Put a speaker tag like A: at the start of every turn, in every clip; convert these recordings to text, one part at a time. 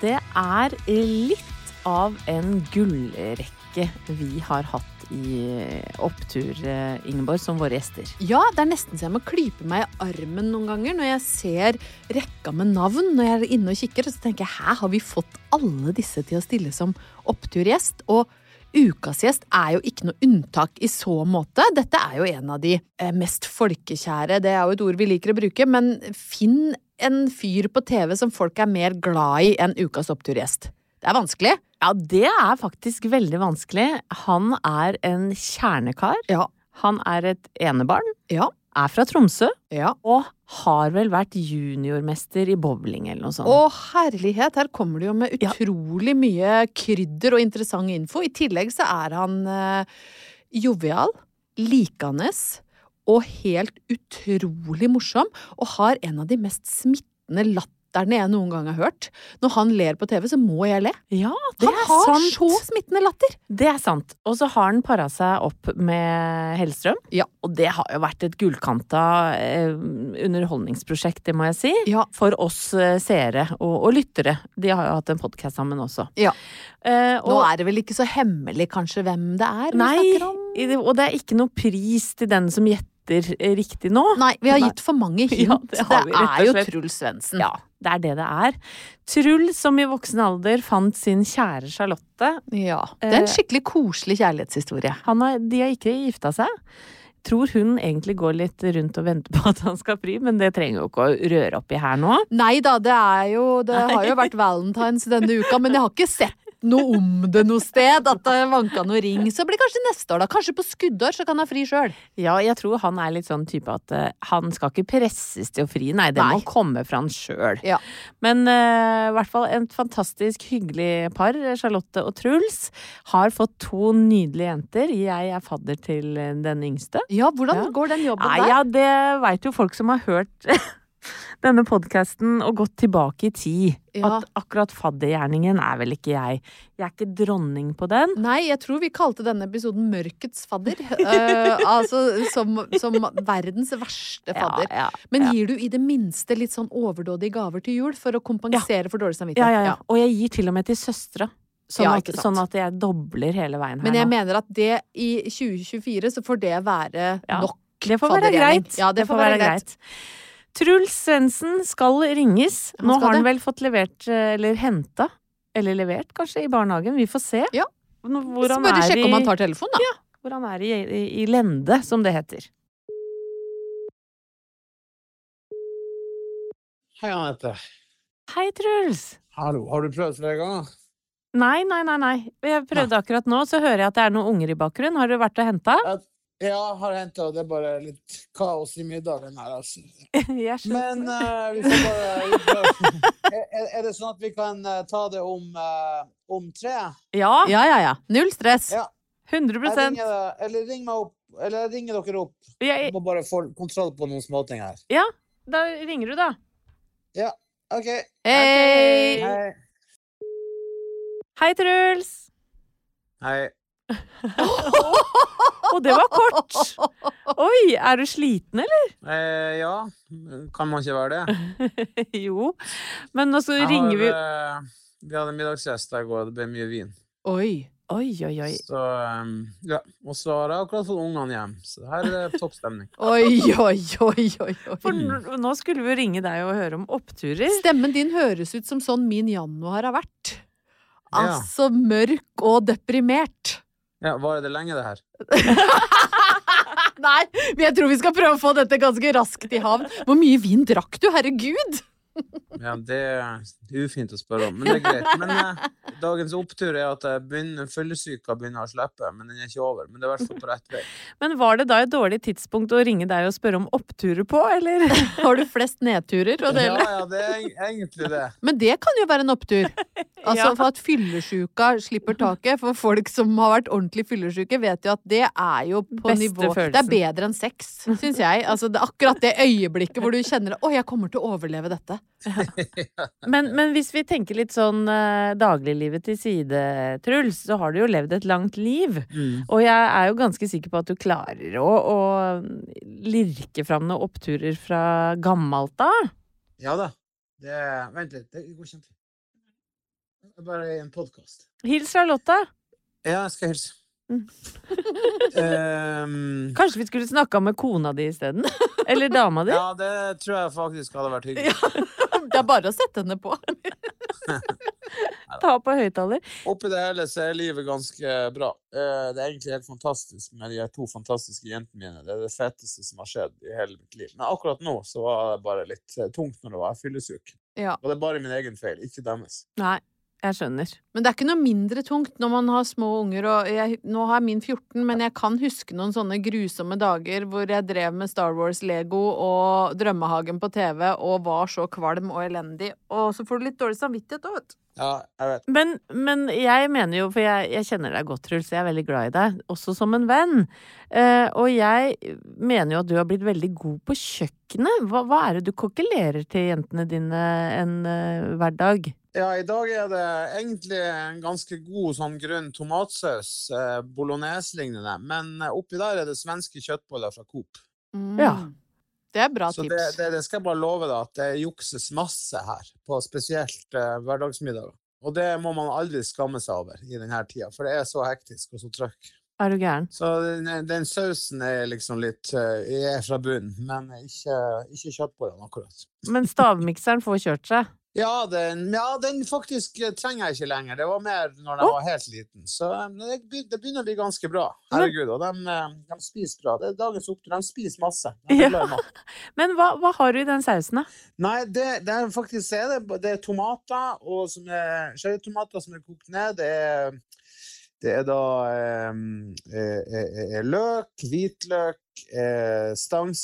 A: det er litt av en gullrekke vi har hatt i opptur, eh, Ingeborg, som våre gjester.
B: Ja, det er nesten så jeg må klype meg i armen noen ganger når jeg ser rekka med navn når jeg er inne og kikker. Og så tenker jeg hæ, har vi fått alle disse til å stille som oppturgjest? Og ukas gjest er jo ikke noe unntak i så måte. Dette er jo en av de eh, mest folkekjære, det er jo et ord vi liker å bruke, men finn en fyr på TV som folk er mer glad i enn ukas oppturgjest. Det er vanskelig.
A: Ja, det er faktisk veldig vanskelig. Han er en kjernekar.
B: Ja.
A: Han er et enebarn.
B: Ja.
A: Er fra Tromsø.
B: Ja.
A: Og har vel vært juniormester i bowling eller noe sånt.
B: Å herlighet, her kommer du jo med
A: Ja.
B: utrolig mye krydder og interessant info. I tillegg så er han eh, jovial, likende og helt utrolig morsom. Og har en av de mest smittende latterne jeg noen gang har hørt. Når han ler på TV, så må jeg le.
A: ja, det
B: Han
A: er
B: har
A: sant.
B: så smittende latter!
A: Det er sant. Og så har han para seg opp med Hellstrøm.
B: Ja.
A: Og det har jo vært et gullkanta eh, underholdningsprosjekt, det må jeg si.
B: Ja.
A: For oss eh, seere og, og lyttere. De har jo hatt en podkast sammen også.
B: Ja.
A: Eh,
B: Nå
A: og,
B: er det vel ikke så hemmelig kanskje hvem det er vi
A: nei,
B: snakker om?
A: i det- og det er ikke noe pris til den som gjetter eh, riktig nå.
B: Nei, vi har
A: Nei.
B: gitt for mange hint.
A: Ja, det har vi
B: det
A: rett og
B: er jo
A: slett.
B: Truls Svendsen.
A: Ja, det er det det er. Trull, som i voksen alder fant sin kjære Charlotte,
B: Ja. Det er
A: Eh,
B: en skikkelig koselig kjærlighetshistorie.
A: Han har, de har ikke gifta seg. Tror hun egentlig går litt rundt og venter på at han skal fri, men det trenger jo ikke å røre opp i her nå.
B: Nei da, det er jo Det har jo vært valentines denne uka, men jeg har ikke sett noe om det noe sted. At det vanka noe ring. Så blir det kanskje neste år, da. Kanskje på skuddår, så kan jeg fri sjøl.
A: Ja, jeg tror han er litt sånn type at eh, han skal ikke presses til å fri, nei, det
B: Nei.
A: må komme fra han sjøl.
B: Ja.
A: Men eh, i hvert fall et fantastisk hyggelig par, Charlotte og Truls, har fått to nydelige jenter. Jeg er fadder til eh, den yngste.
B: Ja, hvordan
A: Ja.
B: går den jobben
A: Nei,
B: der?
A: ja, det veit jo folk som har hørt denne podkasten og gått tilbake i tid.
B: Ja.
A: At akkurat faddergjerningen er vel ikke jeg. Jeg er ikke dronning på den.
B: Nei, jeg tror vi kalte denne episoden Mørkets fadder. Eh, altså som, som verdens verste fadder.
A: Ja,
B: Men gir du i det minste litt sånn overdådige gaver til jul for å kompensere for dårlig
A: ja. ja,
B: samvittighet?
A: ja, ja. Og jeg gir til og med til søstera. Sånn,
B: Ja,
A: at-
B: ikke sant.
A: sånn at jeg dobler hele veien her
B: Men jeg
A: nå.
B: mener at det i 2024 så får det være
A: Ja.
B: nok.
A: Det får være
B: faddergjerning.
A: greit.
B: Ja, det, får være greit.
A: Truls Svendsen skal ringes.
B: Han
A: Nå
B: skal
A: har han
B: det.
A: vel fått levert, eh, eller henta, eller levert kanskje, i barnehagen. Vi får se.
B: Ja.
A: Nå- Hvor han
B: Bare
A: er
B: sjekke
A: i-
B: om han tar telefonen, da.
A: hvor han er i, i, i lende, som det heter.
C: Hei, Anette.
A: Hei, Truls!
C: Hallo. Har du prøvd flere ganger?
A: Nei, nei, nei. nei. Jeg prøvde akkurat nå, så hører jeg at det er noen unger i bakgrunnen. Har du vært og henta?
C: Ja, har henta. Det er bare litt kaos i middagen her, altså.
A: Jeg skjønner.
C: Men eh, vi får bare vi får- Er- er, er det sånn at vi kan eh, ta det om, eh, om tre?
A: Ja,
B: Ja, ja, ja. Null stress.
C: Ja.
A: 100
C: Jeg ringer, deg- eller ring meg opp. Eller jeg ringer dere opp.
A: jeg,
C: Jeg må bare få kontroll på noen småting her.
A: Da ringer du, da.
C: OK.
B: Hei!
A: Ok.
C: Hei.
A: Hei, Truls!
C: Hei.
A: Å, det var kort! Oi, er du sliten, eller?
C: Eh, ja, kan man ikke være det?
A: jo. Men nå så
C: Jeg
A: ringer vi
C: har, eh, vi hadde middagsgjest der i går, og det ble mye vin.
B: Oi.
A: Oi, oi, oi.
C: Så, um, ja. Og så har jeg akkurat fått ungene hjem, så her er det topp stemning.
B: Oi, oi, oi, oi,
A: For
B: oi.
A: n- nå skulle vi jo ringe deg og høre om oppturer.
B: Stemmen din høres ut som sånn min januar har vært.
C: Ja.
B: Altså mørk og deprimert.
C: Ja, Varer det lenge, det her?
B: Nei, men jeg tror vi skal prøve å få dette ganske raskt i havn. Hvor mye vin drakk du, herregud?
C: Ja, Det er ufint å spørre om, men det er greit. Men eh, dagens opptur er at jeg begynner, fyllesyka begynner å slippe, men den er ikke over. Men det er i hvert fall på rett vei.
A: Men var det da et dårlig tidspunkt å ringe deg og spørre om oppturer på, eller?
B: Har du flest nedturer å
C: Ja,
B: dele?
C: ja, det er eg- egentlig det.
B: Men det kan jo være en opptur. Altså
A: Ja.
B: for at fyllesjuka slipper taket. For folk som har vært ordentlig fyllesyke, vet jo at det er jo på
A: Beste
B: nivå Det
A: følelsen.
B: er bedre enn sex, syns jeg. Altså det, akkurat det øyeblikket hvor du kjenner Å, jeg kommer til å overleve dette.
A: Men, men hvis vi tenker litt sånn eh, dagliglivet til side, Truls, så har du jo levd et langt liv. Og jeg er jo ganske sikker på at du klarer å, å lirke fram noen oppturer fra gammelt av.
C: Ja da. Det, vent litt, det går kjempefint. Jeg bare er i en podkast.
A: Hils fra Lotta.
C: Ja, jeg skal hilse.
A: Mm.
C: Ehm,
A: Kanskje vi skulle snakka med kona di isteden? Eller dama di?
C: ja, det tror jeg faktisk hadde vært hyggelig.
B: Det er bare å sette henne på.
A: Ta på høyttaler.
C: Oppi det hele så er livet ganske bra. Eh, Det er egentlig helt fantastisk med de her to fantastiske jentene mine. Det er det feteste som har skjedd i hele mitt liv. Men akkurat nå så var det bare litt eh, tungt når det var fyllesyk.
B: Ja.
C: Og det er bare min egen feil, ikke deres.
A: Nei, jeg skjønner.
B: Men det er ikke noe mindre tungt når man har små unger, og jeg, nå har jeg min 14, men jeg kan huske noen sånne grusomme dager hvor jeg drev med Star Wars-lego og Drømmehagen på TV og var så kvalm og elendig, og så får du litt dårlig samvittighet òg, vet du.
C: Ja, jeg vet.
A: Men, men jeg mener jo, for jeg, jeg kjenner deg godt, Truls, jeg er veldig glad i deg, også som en venn. Eh, og jeg mener jo at du har blitt veldig god på kjøkkenet. Hva, hva er det du kokkelerer til jentene dine en eh, hverdag?
C: Ja, i dag er det egentlig en ganske god sånn grønn tomatsaus, eh, bolognese-lignende. Men eh, oppi der er det svenske kjøttboller fra Coop.
A: Ja.
B: Mm. Det er bra
C: Så det,
B: tips.
C: det, det skal jeg bare love deg, at det jukses masse her, på spesielt eh, hverdagsmiddager. Og det må man aldri skamme seg over i denne tida, for det er så hektisk og så trøkk.
A: Er du gæren?
C: Så den, den sausen er liksom litt eh, er fra bunnen, men ikke, ikke kjøttbollene akkurat.
A: Men stavmikseren får kjørt seg.
C: Ja den, ja, den faktisk eh, trenger jeg ikke lenger. Det var mer når jeg
A: Å.
C: var helt liten. Så eh, men det, be- det begynner å bli ganske bra.
A: Men-
C: Herregud. Og de, de spiser bra. Det er dagens opptur. De spiser masse. De
A: Ja.
C: er glad i mat.
A: Men hva, hva har du i den sausen, da?
C: Nei, det, det er faktisk det er det, ba- det er tomater og som er cherrytomater som er kokt ned. Det er, det er da eh, eh, eh, eh, løk, hvitløk, eh,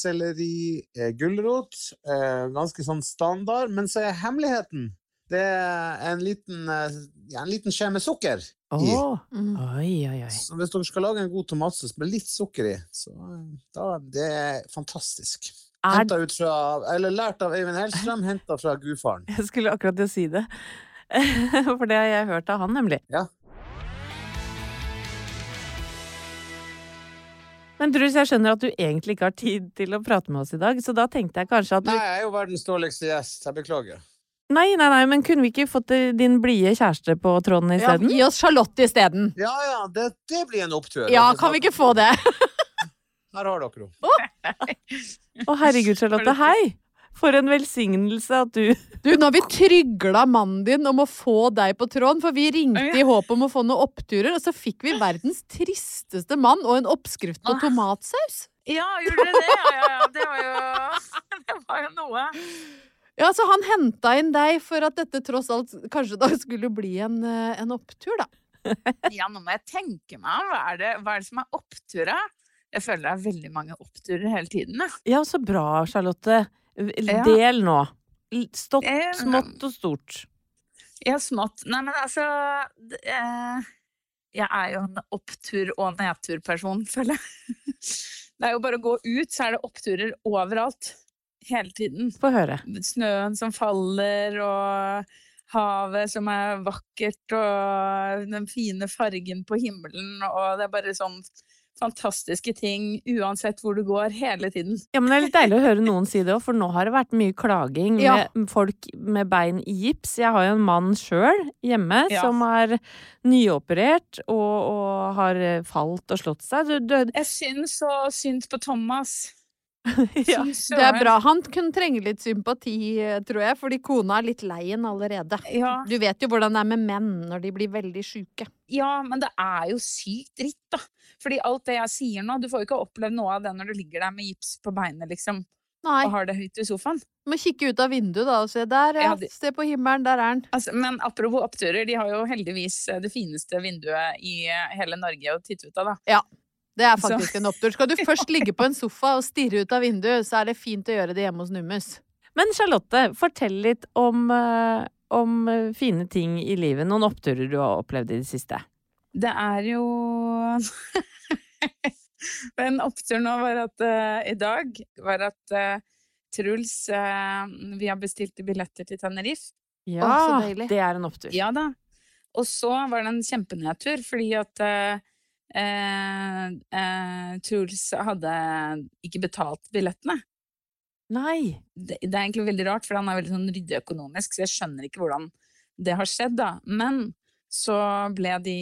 C: stangselleri, eh, gulrot. Eh, ganske sånn standard. Men så er hemmeligheten det er en liten, eh, ja, en liten skje med sukker. I.
A: Åh.
B: Mm.
A: Oi, oi, oi.
C: Så hvis dere skal lage en god tomatsaus med litt sukker i, så eh, da, det er fantastisk.
A: Er,
C: Hentet ut fra, eller lært av Øyvind Hellstrøm, henta fra gudfaren.
A: jeg skulle akkurat til å si det. For det har jeg hørt av han, nemlig.
C: Ja.
A: Men Truls, jeg skjønner at du egentlig ikke har tid til å prate med oss i dag, så da tenkte jeg kanskje at du
C: Nei, jeg er jo verdens dårligste gjest. Jeg beklager.
A: Nei, nei, nei, men kunne vi ikke fått eh, din blide kjæreste på tråden
B: Ja,
A: isteden?
B: gi oss Charlotte isteden.
C: Ja ja, det, det blir en opptur.
B: Ja, kan vi ikke få det?
C: Her har dere henne.
A: Å herregud, Charlotte, hei! For en velsignelse at du
B: Du, nå har vi trygla mannen din om å få deg på tråden, for vi ringte i håp om å få noen oppturer, og så fikk vi verdens tristeste mann og en oppskrift på
A: Ah.
B: tomatsaus.
A: Ja, gjorde du det? Ja, ja, ja. Det var jo, det var jo noe.
B: Ja, så han henta inn deg for at dette tross alt kanskje da skulle bli en, eh, en opptur, da.
D: Ja, nå må jeg tenke meg om. Hva er det, hva er det som er oppturer? Jeg føler det er veldig mange oppturer hele tiden. jeg.
A: Ja, så bra, Charlotte.
D: Ja.
A: Del nå. L- Stått,
D: Eh,
A: smått og stort.
D: Jeg har smått. Nei, men altså d- eh, Jeg er jo en opptur- og nedturperson, føler jeg. Det er jo bare å gå ut, så er det oppturer overalt. Hele tiden.
A: Få høre.
D: Snøen som faller, og havet som er vakkert, og den fine fargen på himmelen, og det er bare sånn fantastiske ting uansett hvor du går, hele tiden.
A: Ja, men Det er litt deilig å høre noen si det òg, for nå har det vært mye klaging
B: Ja.
A: med folk med bein i gips. Jeg har jo en mann sjøl hjemme
D: Ja.
A: som er nyoperert og, og har eh, falt og slått seg. Du døde
D: Jeg syns så synd på Thomas.
A: ja.
D: Fy søren.
B: Det er bra. Han kunne trenge litt sympati, eh, tror jeg, fordi kona er litt lei en allerede.
D: Ja,
B: Du vet jo hvordan det er med menn når de blir veldig sjuke.
D: ja, men det er jo sykt dritt, da. Fordi alt det jeg sier nå, du får jo ikke opplevd noe av det når du ligger der med gips på beinet, liksom,
B: Nei,
D: og har det høyt i sofaen.
B: må kikke ut av vinduet da og se der, ja.
D: Ja, det-
B: Se på himmelen, der er den.
D: Altså, men apropos oppturer, de har jo heldigvis eh, det fineste vinduet i eh, hele Norge å titte ut av, da.
B: Det er
D: Så-
B: faktisk en opptur. Skal du først ligge på en sofa og stirre ut av vinduet, så er det fint å gjøre det hjemme hos Nummus.
A: Men Charlotte, fortell litt om, eh, om eh, fine ting i livet. Noen oppturer du har opplevd i det siste.
D: Det er jo En opptur nå var at eh, i dag var at eh, Truls eh, Vi har bestilt billetter til Tenerife.
A: Ja,
B: så deilig.
A: det er en opptur.
D: Ja da. Og så var det en kjempenedtur, fordi at eh, eh, eh, Truls hadde ikke betalt billettene.
A: Nei.
D: Det, det er egentlig veldig rart, for han er veldig sånn ryddig økonomisk, så jeg skjønner ikke hvordan det har skjedd, da. Men så ble de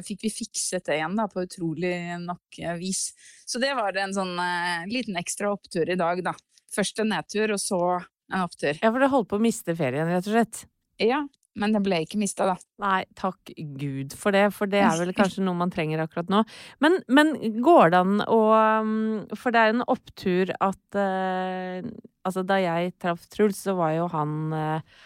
D: Fikk vi fikset det igjen, da, på utrolig nok eh, vis. Så det var en sånn eh, liten ekstra opptur i dag, da. Først en nedtur, og så en opptur.
A: Ja, for du holdt på å miste ferien, rett og slett.
D: Ja, men det ble ikke mista, da.
A: Nei, takk Gud for det, for det er vel kanskje noe man trenger akkurat nå. Men, men går det an å um, For det er en opptur at eh, Altså, da jeg traff Truls, så var jo han eh,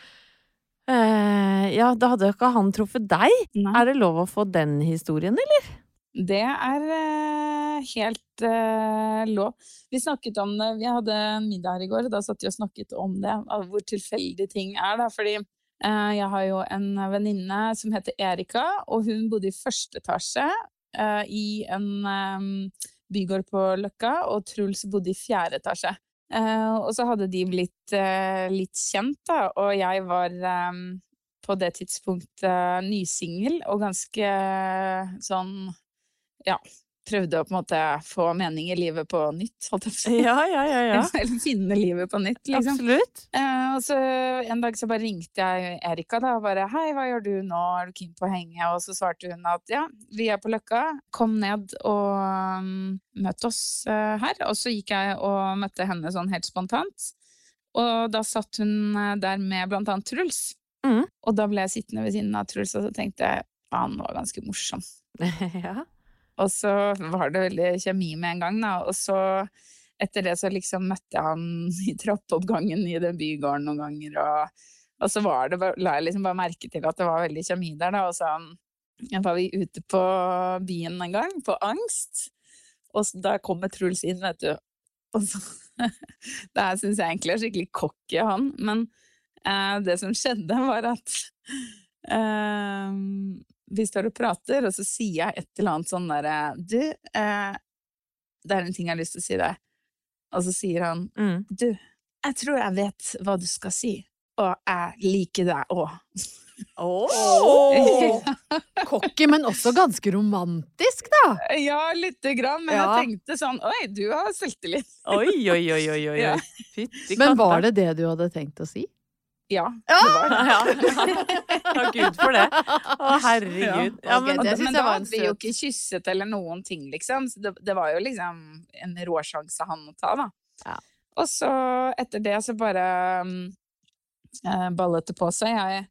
A: eh, Ja, da hadde jo ikke han truffet deg. Er det lov å få den historien, eller?
D: Det er eh, helt eh, lov. Vi snakket om det, vi hadde en middag her i går, og da satt vi og snakket om det, av hvor tilfeldige ting er. Da, fordi eh, jeg har jo en venninne som heter Erika, og hun bodde i første etasje eh, i en eh, bygård på Løkka, og Truls bodde i fjerde etasje. Eh, og så hadde de blitt eh, litt kjent, da, og jeg var eh, på det tidspunktet eh, nysingel og ganske sånn ja, prøvde å på en måte få mening i livet på nytt, holdt jeg på å si.
A: Ja, ja, ja.
D: Eller finne livet på nytt, liksom.
A: Absolutt.
D: Eh, og så en dag så bare ringte jeg Erika da, og bare 'Hei, hva gjør du nå? Er du keen på å henge?' Og så svarte hun at 'Ja, vi er på Løkka. Kom ned og mm, møt oss eh, her.' Og så gikk jeg og møtte henne sånn helt spontant. Og da satt hun eh, der med blant annet Truls.
A: Mhm.
D: Og da ble jeg sittende ved siden av Truls, og så tenkte jeg han var ganske morsom.
A: ja.
D: Og så var det veldig kjemi med en gang, da. Og så etter det så liksom møtte jeg han i trappeoppgangen i den bygården noen ganger. Og, og så var det, bare- la jeg liksom bare merke til at det var veldig kjemi der, da. Og så um, var vi ute på byen en gang, på Angst. Og så, da kommer Truls inn, vet du. Og så Det her syns jeg egentlig er skikkelig cocky av han, men eh, det som skjedde, var at eh, vi står og prater, og så sier jeg et eller annet sånn derre Du, eh, det er en ting jeg har lyst til å si deg. Og så sier han
A: Mm.
D: Du, jeg tror jeg vet hva du skal si, og jeg liker deg òg.
B: Cocky, men også ganske romantisk, da.
D: Ja, lite grann, men
B: Ja.
D: jeg tenkte sånn Oi, du har selvtillit.
A: Oi, oi, oi, oi, oi.
D: Ja.
A: oi. Fytti
B: Men var det det du hadde tenkt å si?
D: Ja.
A: Ja. Takk Gud for det. Å, herregud. Ja,
B: Ok,
A: men
B: det-
D: Men,
B: synes
D: men
B: jeg
D: da
B: var en
D: hadde vi jo
B: søt-
D: ikke kysset eller noen ting, liksom. Så det, det var jo liksom en råsjanse han å ta, da.
B: Ja.
D: Og så etter det så bare mm, eh, ballet det på seg. Jeg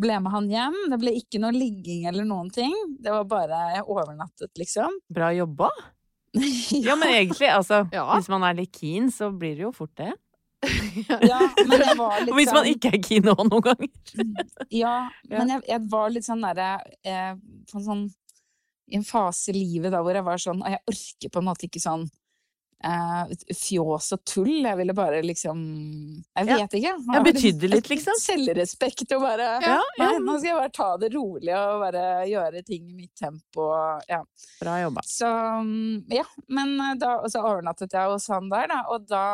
D: ble med han hjem. Det ble ikke noe ligging eller noen ting. Det var bare Jeg overnattet, liksom.
A: bra jobba.
D: ja,
A: Ja, men egentlig, altså.
B: Ja.
A: Hvis man er litt keen, så blir det jo fort det.
D: ja, men det var
A: Og
D: liksom
A: hvis man ikke er keen òg noen ganger.
D: Ja,
A: Ja.
D: men jeg, jeg var litt sånn derre eh, på en sånn, I en fase i livet da hvor jeg var sånn Og jeg orker på en måte ikke sånn eh, fjås og tull. Jeg ville bare liksom Jeg
A: Ja.
D: vet ikke.
A: Ja,
D: ha litt-
A: betydde litt, liksom.
D: Selvrespekt og bare
A: Ja,
D: Nei, nå skal jeg bare ta det rolig og bare gjøre ting i mitt tempo. og- Ja.
A: Bra jobba.
D: Så mm, ja, men eh, da, og så overnattet jeg hos han der, da, og da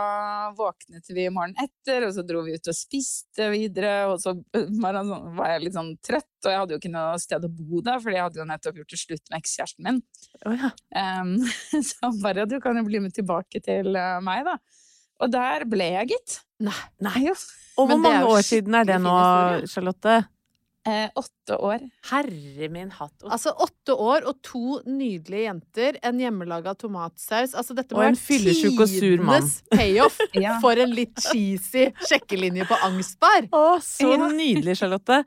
D: våknet vi morgenen etter, og så dro vi ut og spiste videre, og så eh, var, han sånn, var jeg litt sånn trøtt, og jeg hadde jo ikke noe sted å bo da, fordi jeg hadde jo nettopp gjort det slutt med ekskjæresten min.
A: Å ja.
D: Em, så han bare, du kan jo bli med tilbake til eh, meg da. Og der ble jeg gitt.
B: Nei.
D: Nei, jo.
A: Og hvor
B: Men det er
A: mange
B: jo
A: år siden er det
B: skikkelig
A: nå,
B: fin
A: Charlotte?
D: Eh, åtte år.
A: Herre min hatt. Og,
B: Altså åtte år og to nydelige jenter, en hjemmelaga tomatsaus Altså dette må
A: Og en
B: være
A: fyllesyk og sur mann.
B: tidenes payoff
D: Ja.
B: for en litt cheesy sjekkelinje på angstbar.
A: å, så
D: Ja.
A: nydelig, Charlotte.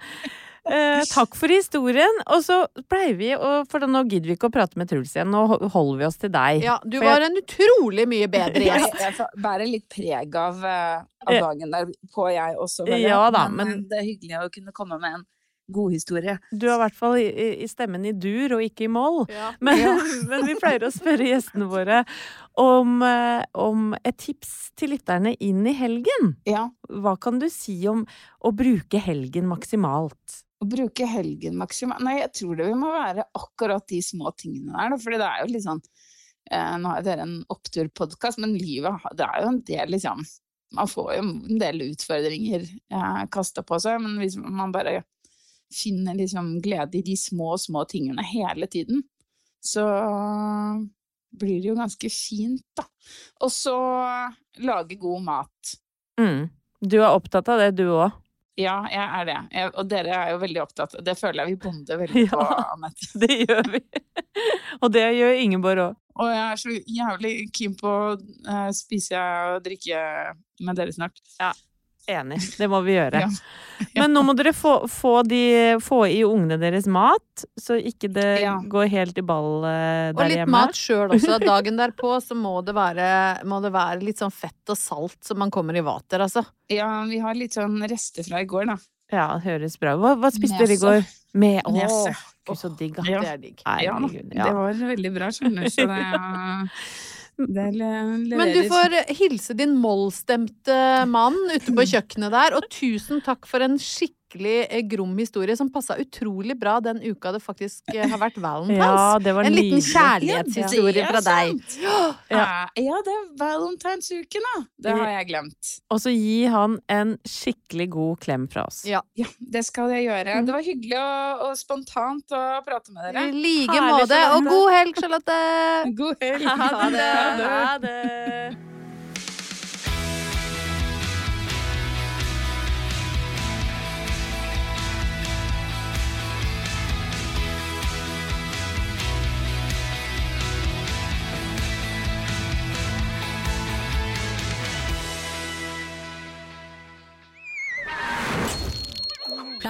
A: Eh, takk for historien. Og så pleier vi å For nå gidder vi ikke å prate med Truls igjen. Nå ho- holder vi oss til deg.
B: Ja, du
A: For jeg-
B: var en utrolig mye bedre
D: Jeg,
B: gjest.
D: jeg fa- bærer litt preg av, eh, av
A: Ja.
D: dagen der på jeg også. vel,
A: Ja da,
D: men, eh,
A: men-
D: det er hyggelig å kunne komme med en god historie.
A: Du er i hvert fall i, i- i stemmen i dur og ikke i moll.
B: Ja.
A: Men,
D: Ja.
A: men vi pleier å spørre gjestene våre om, eh, om et tips til lytterne inn i helgen.
D: Ja,
A: Hva kan du si om å bruke helgen maksimalt?
D: å bruke helgen maksimalt Nei, jeg tror det vi må være akkurat de små tingene der, da, fordi det er jo litt sånn eh, Nå har dere en oppturpodkast, men livet har- det er jo en del, liksom Man får jo en del utfordringer eh, kasta på seg, men hvis man bare finner liksom glede i de små, små tingene hele tiden, så blir det jo ganske fint, da. Og så lage god mat.
A: Mm. Du er opptatt av det, du òg.
D: Ja, jeg er det. Jeg, og dere er jo veldig opptatt. Det føler jeg vi bonder veldig på,
A: Ja.
D: Anette.
A: Det gjør vi. Og det gjør Ingeborg òg.
D: Og jeg er så jævlig keen på å eh, spise og drikke med dere snart.
A: Enig. Det må vi gjøre.
D: Ja.
A: Men nå må dere få, få, de, få i ungene deres mat, så ikke det
D: Ja.
A: går helt i ball eh,
B: Og
A: der
B: litt
A: hjemme.
B: mat sjøl også. Dagen derpå så må det, være, må det være litt sånn fett og salt så man kommer i vater, altså.
D: Ja, vi har litt sånn rester fra i går, da.
A: Ja, det høres bra. Hva, hva spiste dere i
D: Nese.
A: går? Med Å,
D: Nese.
A: gud, så digg. da.
D: Ja.
B: Det er digg.
D: Ja, da.
A: Herregud,
D: Det
A: ja.
D: var veldig bra, skjønner du. Så det, det le- leverer.
B: Men du får hilse din mollstemte mann ute på kjøkkenet der, og tusen takk for en skikkelig eh, grom historie som passa utrolig bra den uka det faktisk eh, har vært
A: Ja,
B: valentines.
A: det var
B: en liten
A: nydelig.
B: kjærlighetshistorie
D: Ja,
B: fra
D: det er
B: deg.
D: Ja, ja det er valentinsuken, da. Det har jeg glemt.
A: Og så gi han en skikkelig god klem fra oss.
B: Ja.
D: Ja, det skal jeg gjøre.
B: Mm.
D: Det var hyggelig og, og spontant å prate
B: I
D: med dere.
B: like
A: Herlig,
B: måte, og
A: Charlotte.
B: god helg, Charlotte!
D: God helg.
A: Ha det!
D: Ha det.
A: Ha det.